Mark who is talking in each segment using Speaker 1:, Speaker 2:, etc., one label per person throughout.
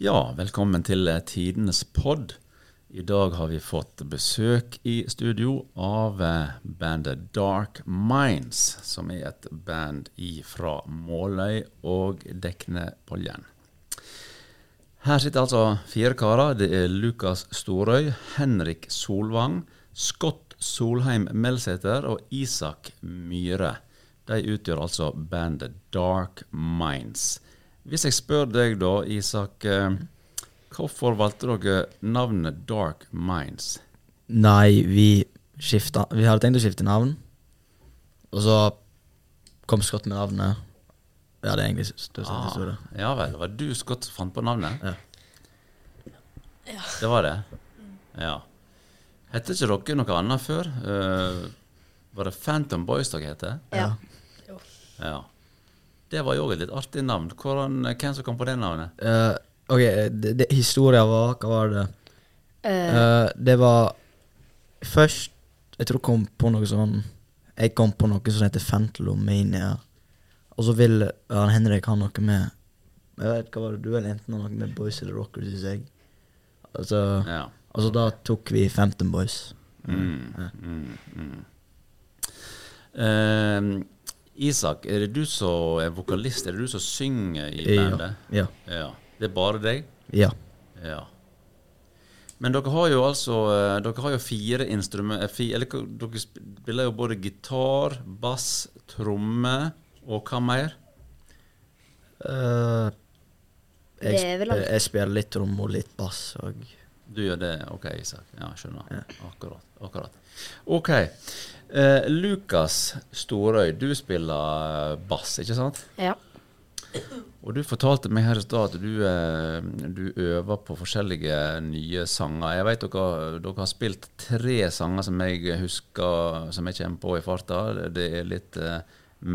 Speaker 1: Ja, velkommen til eh, Tidenes pod. I dag har vi fått besøk i studio av eh, bandet Dark Minds, som er et band fra Måløy og Deknepollen. Her sitter altså fire karer. Det er Lukas Storøy, Henrik Solvang, Scott Solheim Melsæter og Isak Myhre. De utgjør altså bandet Dark Minds. Hvis jeg spør deg da, Isak, eh, hvorfor valgte dere navnet Dark Minds?
Speaker 2: Nei, vi skifta Vi hadde tenkt å skifte navn. Og så kom Scott med navnet. Ja, det er egentlig største ah.
Speaker 1: Ah,
Speaker 2: historie.
Speaker 1: ja vel, det var du Scott som fant på navnet?
Speaker 2: Ja.
Speaker 1: Det var det? Ja. Hette ikke dere noe annet før? Eh, var det Phantom Boys dere het?
Speaker 3: Ja.
Speaker 1: Ja. Det var jo også et litt artig navn. Hvordan, hvem som kom på det navnet?
Speaker 2: Eh, ok, det, det, historia var Hva var det?
Speaker 3: Eh,
Speaker 2: Eh, det var først Jeg tror jeg kom på noe sånn Jeg kom på noe som heter Fentalomania. Og så ville han Henrik ha noe med Jeg vet ikke hva var det du eller enten ha noe med Boys eller Rockers, syns jeg. Altså,
Speaker 1: Ja.
Speaker 2: altså da tok vi Phantom Boys.
Speaker 1: Mm, mm, mm. Eh, Isak, er det du som er vokalist? Er det du som synger i bandet?
Speaker 2: Ja.
Speaker 1: Ja. Det er bare deg?
Speaker 2: ja.
Speaker 1: Ja. Men dere har jo altså eh, Dere har jo fire instrumenter Eller hva- dere spiller jo både gitar, bass, tromme og hva mer?
Speaker 2: Eh, jeg,
Speaker 3: Det er vel
Speaker 2: sp-
Speaker 3: alt.
Speaker 2: jeg spiller litt rom og litt bass og
Speaker 1: Du gjør det, ok, Isak. Ja, skjønner. Akkurat. akkurat. Ok. Eh, Lukas Storøy, du spiller eh, bass, ikke sant?
Speaker 3: ja.
Speaker 1: Og du fortalte meg her i stad at du, eh, du øver på forskjellige nye sanger. Jeg vet dere, dere har spilt tre sanger som jeg husker som jeg kommer på i farta. Det er litt eh,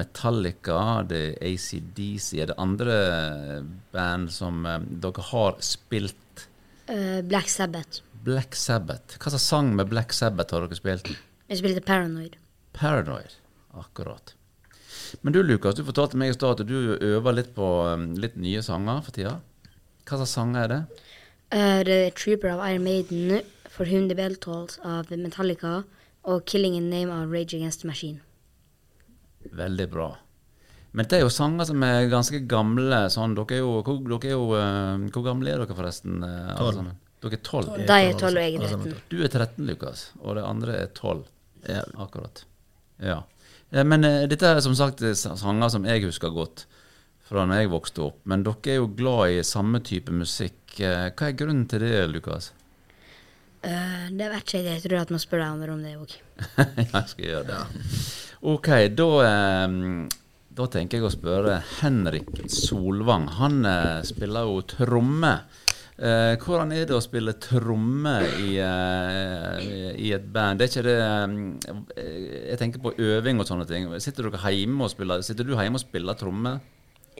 Speaker 1: Metallica, det er ACDC. Er det andre eh, band som eh, dere har spilt?
Speaker 3: Eh, Black Sabbath.
Speaker 1: Black Sabbath. Hva slags sang med Black Sabbath har dere spilt?
Speaker 3: Jeg spilte Paranoid.
Speaker 1: Paranoid. Akkurat. Men du Lukas, du fortalte meg i stad at du øver litt på um, litt nye sanger for tida. Hva slags sanger er det?
Speaker 3: Eh, det er Trooper av Iron Maiden, For Whom the Bell Tolls av Metallica og Killing in the Name av Rage Against the Machine.
Speaker 1: Veldig bra. Men det er jo sanger som er ganske gamle. Sånn, dere er jo, hvor, dere er jo eh, hvor gamle er dere forresten? eh, alle
Speaker 2: Tolv.
Speaker 1: sammen? Dere er tolv?
Speaker 3: Da er jeg 12 og jeg er
Speaker 2: Alle sammen
Speaker 3: 13.
Speaker 1: Du er 13, Lukas, og det andre er 12.
Speaker 2: Ja.
Speaker 1: Akkurat. Ja. Eh, Men eh, dette er som sagt eh, sa- sanger som jeg husker godt fra når jeg vokste opp. Men dere er jo glad i samme type musikk. Eh, Hva er grunnen til det, Lukas?
Speaker 3: Eh, det vet ikke jeg. Jeg tror at man spør de andre om det òg.
Speaker 1: jeg skal gjøre det. Ok, da, eh, da tenker jeg å spørre Henrik Solvang. Han eh, spiller jo tromme. Eh, hvordan er det å spille tromme i, eh, i et band? Det er ikke det eh, Jeg tenker på øving og sånne ting. Sitter dere hjemme og spiller Sitter du hjemme og spiller tromme?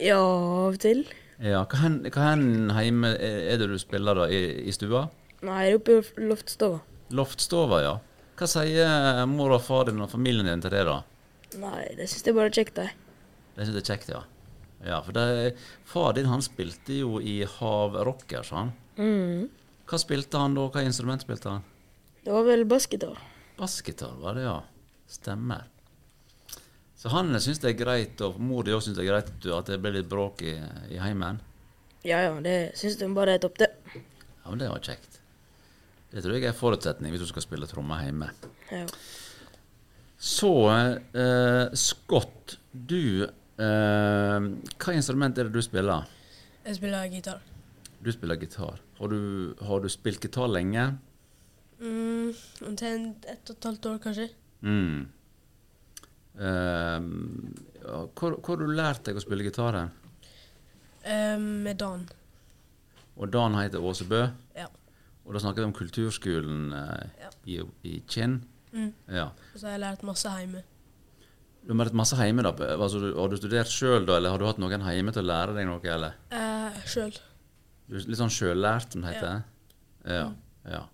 Speaker 4: Ja, av og til.
Speaker 1: Ja, hva hen- hva hen hjemme er er det du spiller da? I, i stua?
Speaker 4: Nei, jeg er oppe i loftstua.
Speaker 1: Loftstova, ja. Hva sier mor og far din og familien din til det, da?
Speaker 4: Nei, det syns jeg bare er kjekt, jeg.
Speaker 1: Det syns jeg er kjekt, ja. Ja, for det, Far din han spilte jo i Havrockers, han.
Speaker 4: Mm.
Speaker 1: Hva spilte han da? Hva instrument spilte han?
Speaker 4: Det var vel basketball.
Speaker 1: Bassgitar, var det, ja. Stemmer. Så han syns det er greit, og mor di òg syns det er greit at du- at det blir litt bråk i, i heimen?
Speaker 4: Ja ja, det syns de bare er topp, det.
Speaker 1: Ja, men det var kjekt. Det tror jeg er en forutsetning hvis du skal spille trommer hjemme.
Speaker 4: Ja.
Speaker 1: Så eh, Scott, du eh, Hva instrument er det du spiller?
Speaker 5: Jeg spiller gitar.
Speaker 1: Du spiller gitar. Har du, har du spilt gitar lenge?
Speaker 5: Mm, omtrent ett og et halvt år, kanskje.
Speaker 1: Mm. Eh, ja, hvor, hvor har du lært deg å spille gitar? hen?
Speaker 5: Eh, med Dan.
Speaker 1: Og Dan heter Åse Bø,
Speaker 5: Ja.
Speaker 1: og da snakker vi om kulturskolen eh, i, i Kinn.
Speaker 5: Mm.
Speaker 1: Ja.
Speaker 5: Og så har jeg lært masse hjemme.
Speaker 1: Du har vært masse hjemme, da. Altså, du- har du studert sjøl, da, eller har du hatt noen hjemme til å lære deg noe? eller?
Speaker 5: Eh, Sjøl.
Speaker 1: Du er Litt sånn sjøllært, som det heter. Ja. ja,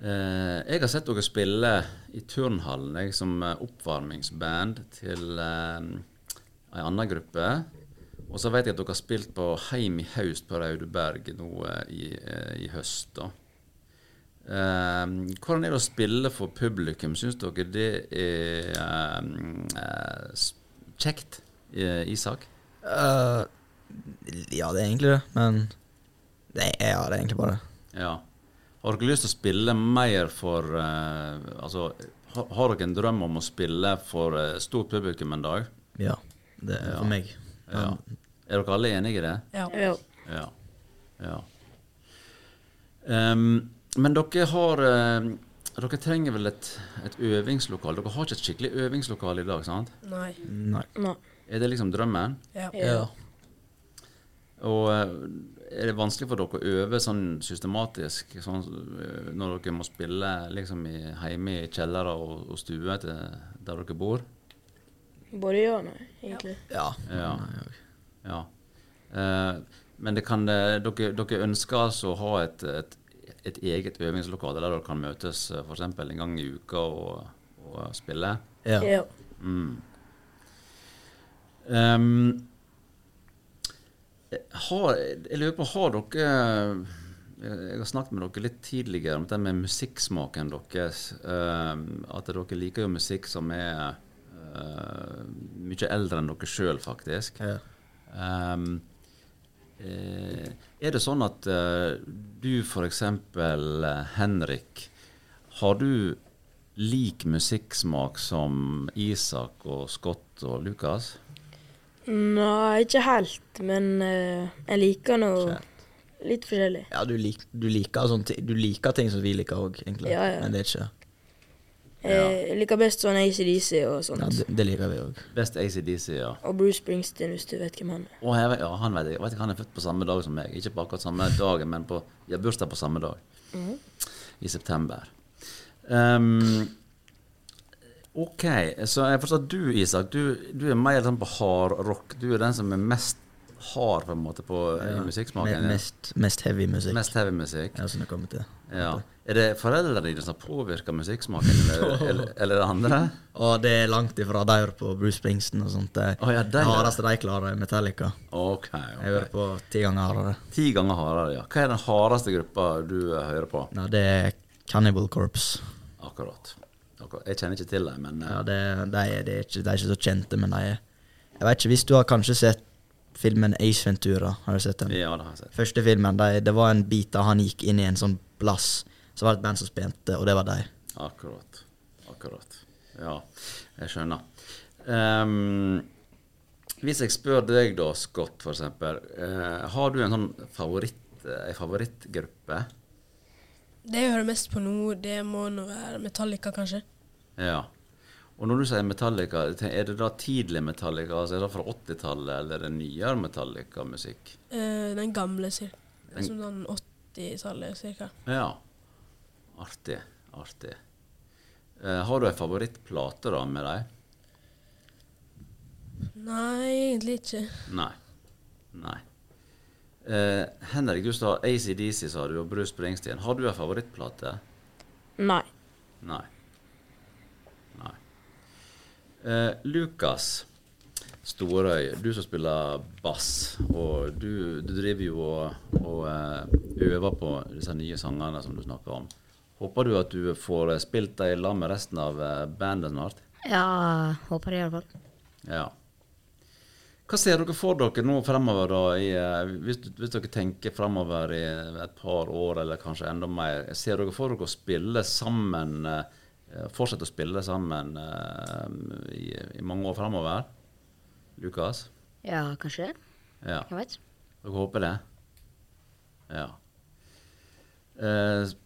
Speaker 1: Eh, jeg har sett dere spille i turnhallen jeg, som eh, oppvarmingsband til eh, ei anna gruppe. Og så vet jeg at dere har spilt på Heim i haust på Raudeberg nå eh, i, eh, i høst. da. Ehm, hvordan er det å spille for publikum? Syns dere det er ehm, eh, s- kjekt, eh, Isak?
Speaker 2: Eh, ja, det er egentlig det, men det er, Ja, det er egentlig bare det.
Speaker 1: Ja. Har dere lyst til å spille mer for eh, Altså, har, har dere en drøm om å spille for eh, stort publikum en dag?
Speaker 2: Ja. Det
Speaker 1: Ja.
Speaker 2: er for meg. Men,
Speaker 1: Ja. Er dere alle enige i det?
Speaker 5: Ja.
Speaker 4: Ja.
Speaker 1: Ja. ja. Ehm, men dere har eh, Dere trenger vel et, et øvingslokal? Dere har ikke et skikkelig øvingslokal i dag, sant?
Speaker 5: Nei.
Speaker 2: Nei.
Speaker 4: Nei.
Speaker 1: Er det liksom drømmen?
Speaker 5: Ja.
Speaker 4: Ja.
Speaker 1: Og eh, er det vanskelig for dere å øve sånn systematisk sånn, eh, når dere må spille liksom i, hjemme i kjellere og, og stue til der dere bor?
Speaker 4: Både ja og nei, egentlig.
Speaker 2: Ja.
Speaker 1: Ja.
Speaker 2: Nei, jeg-
Speaker 1: Ja. Eh, men det kan, eh, dere, dere ønsker altså å ha et, et, et eget øvingslokale der dere kan møtes f.eks. en gang i uka og, og spille?
Speaker 2: ja.
Speaker 4: Ja.
Speaker 1: Mm. Ehm, har, jeg lurer på, har dere eh, Jeg har snakket med dere litt tidligere om det med musikksmaken deres. ehm, at dere liker jo musikk som er eh, mye eldre enn dere sjøl, faktisk.
Speaker 2: ja.
Speaker 1: Ehm, eh, er det sånn at eh, du f.eks. Henrik, har du lik musikksmak som Isak og Scott og Lukas?
Speaker 4: Nei, ikke helt, men eh, jeg liker noe litt forskjellig.
Speaker 2: ja du, lik, du, liker sånne, ting- du liker ting som vi liker òg, egentlig.
Speaker 4: Ja, ja.
Speaker 2: Men det er ikke
Speaker 4: Jeg liker best sånn ACDC og
Speaker 2: ja,
Speaker 4: sånt.
Speaker 2: det, det liker vi òg.
Speaker 1: Best ACDC, ja.
Speaker 4: Og Bruce Springsteen, hvis du vet hvem han er.
Speaker 1: Og jeg, vet- ja, han vet jeg. Jeg vet ikke, han er født på samme dag som meg. Ikke på akkurat samme dagen, men på, jeg har bursdag på samme dag.
Speaker 2: Mhm.
Speaker 1: I september. Ehm, ok, så jeg forstår at du, Isak, du, du er mer sånn på hardrock. Du er den som er mest hard på en måte på, eh, i musikksmaken.
Speaker 2: Me- Mest, mest heavy musikk.
Speaker 1: Mest heavy musikk.
Speaker 2: Ja, som det kommer til.
Speaker 1: Ja. Er det foreldrene dine som påvirker musikksmaken, eller, eller, eller det andre?
Speaker 2: Og det er langt ifra de hører på Bruce Springsteen og sånt. Det
Speaker 1: Å, ja, de-
Speaker 2: det hardeste de klarer, er Metallica.
Speaker 1: Ok.
Speaker 2: Jeg hører
Speaker 1: ok.
Speaker 2: på ti ganger hardere.
Speaker 1: Ti ganger hardere, ja. Hva er den hardeste gruppa du eh, hører på?
Speaker 2: Nei, det er Cannibal Corpse.
Speaker 1: Akkurat. Akkurat. Jeg kjenner ikke til dem, men eh,
Speaker 2: Ja, det, de, er, de, er ikke, de er ikke så kjente, men de er Jeg vet ikke, hvis du har kanskje sett filmen Ace Ventura, har du sett den?
Speaker 1: ja, det har jeg sett.
Speaker 2: Første filmen, de, det var en bit der han gikk inn i en sånn plass, så var det et band som spilte, og det var de.
Speaker 1: Akkurat. Akkurat. Ja, jeg skjønner. Ehm, hvis jeg spør deg da, Scott, for eksempel, eh, har du en sånn favoritt, eh, favorittgruppe?
Speaker 5: Det jeg hører mest på nå, det må nå være Metallica, kanskje.
Speaker 1: Ja. Og når du sier Metallica, te- er det da tidlig Metallica? Altså er det fra 80-tallet, eller er det nyere Metallica-musikk?
Speaker 5: Eh, den gamle, cirka.
Speaker 1: Den-
Speaker 5: Som den 80-tallet, cirka.
Speaker 1: Ja. Artig. Artig. Eh, har du ei favorittplate da med dem?
Speaker 5: Nei, egentlig ikke.
Speaker 1: Nei. Nei. Eh, Henrik, du sa ACDC, sa du, og Bruce Springsteen. Har du en favorittplate?
Speaker 4: Nei.
Speaker 1: Nei. Nei. Eh, Lukas Storøy, du som spiller bass, og du, du driver jo og, og eh, øver på disse nye sangene som du snakker om. Håper du at du får eh, spilt dem i lag med resten av eh, bandet snart?
Speaker 3: Ja, håper det iallfall.
Speaker 1: Ja. Hva ser dere for dere nå fremover, da, i, eh, hvis, hvis dere tenker fremover i et par år eller kanskje enda mer? Ser dere for dere å spille sammen, eh, eh, fortsette å spille sammen eh, i, i mange år fremover? Lukas?
Speaker 3: Ja, kanskje.
Speaker 1: Ja.
Speaker 3: Jeg vet.
Speaker 1: Dere håper det? Ja. Eh,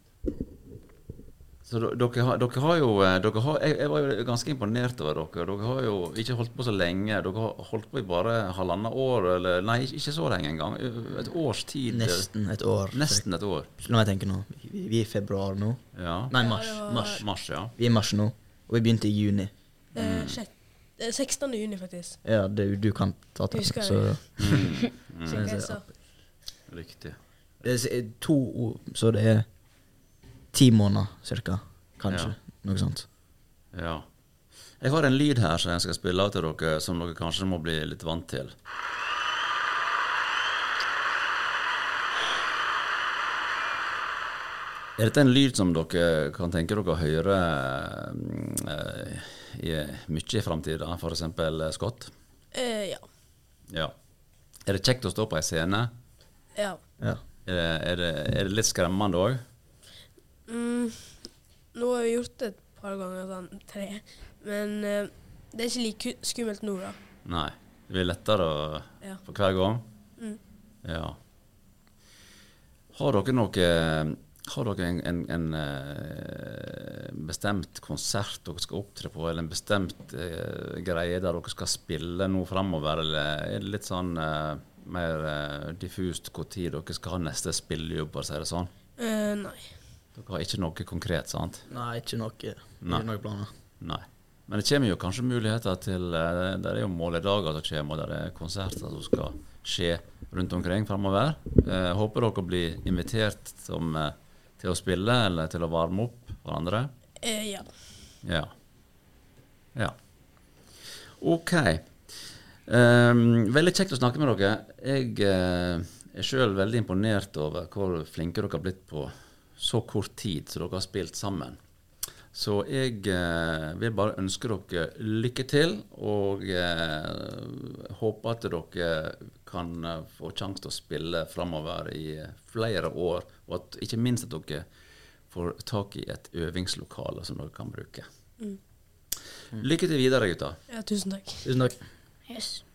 Speaker 1: så d- dere har, dere har jo eh, dere har, jeg, jeg var jo ganske imponert over dere. Dere har jo ikke holdt på så lenge. Dere har holdt på i bare halvannet år, eller nei, ikke- ikke så lenge engang. Eh, Et års tid. eh,
Speaker 2: Nesten et år.
Speaker 1: Nesten et år.
Speaker 2: Når jeg tenker nå, vi, vi er i februar nå.
Speaker 1: Ja.
Speaker 2: Nei, mars. mars.
Speaker 1: Mars, ja.
Speaker 2: Vi er i mars nå, og vi begynte i juni.
Speaker 5: Eh, sjett- eh, 16. juni, faktisk.
Speaker 2: Ja, det, du kan ta den.
Speaker 5: Husker jeg.
Speaker 2: Så, så,
Speaker 5: Ok,
Speaker 2: jeg sier-
Speaker 5: så.
Speaker 1: Riktig.
Speaker 2: Det er s- eh, to ord, så det er ti måneder cirka. Kanskje. Noe sånt.
Speaker 1: Ja. Jeg har en lyd her som jeg skal spille av til dere, som dere kanskje må bli litt vant til. Er dette en lyd som dere kan tenke dere å høre mm, eh, i- mye i framtida, f.eks. Scott?
Speaker 5: Eh, ja.
Speaker 1: Ja. Er det kjekt å stå på ei scene?
Speaker 5: Ja.
Speaker 2: Ja.
Speaker 1: Er det, er det, er det litt skremmende òg?
Speaker 5: Mm, nå har vi gjort det et par ganger, sånn tre. Men eh, det er ikke like ku- skummelt nå, da.
Speaker 1: Nei. Det blir lettere å,
Speaker 5: Ja.
Speaker 1: for hver gang?
Speaker 5: Mm.
Speaker 1: Ja. Har dere noe har dere en, en, en eh, bestemt konsert dere skal opptre på, eller en bestemt eh, greie der dere skal spille nå framover, eller er det litt sånn eh, mer eh, diffust hvor tid dere skal ha neste spillejobb, for å si det sånn?
Speaker 5: Eh, nei.
Speaker 1: Dere har ikke noe konkret, sant?
Speaker 2: Nei, ikke noe. Ikke
Speaker 1: Nei.
Speaker 2: noe planer.
Speaker 1: Nei. Men det kommer jo kanskje muligheter til eh, Det er jo måledager som kommer, og det er konserter som skal skje rundt omkring framover. Eh, håper dere blir invitert som, eh, til å spille eller til å varme opp hverandre.
Speaker 5: Eh, ja.
Speaker 1: Ja. ja. OK. Ehm, veldig kjekt å snakke med dere. Jeg eh, er sjøl veldig imponert over hvor flinke dere har blitt på så kort tid som dere har spilt sammen. Så jeg eh, vil bare ønske dere lykke til, og eh, håper at dere kan eh, få sjanse til å spille framover i eh, flere år, og at, ikke minst at dere får tak i et øvingslokale som dere kan bruke. Lykke til videre, gutter.
Speaker 5: ja. Tusen takk.
Speaker 2: Tusen takk.
Speaker 3: Yes.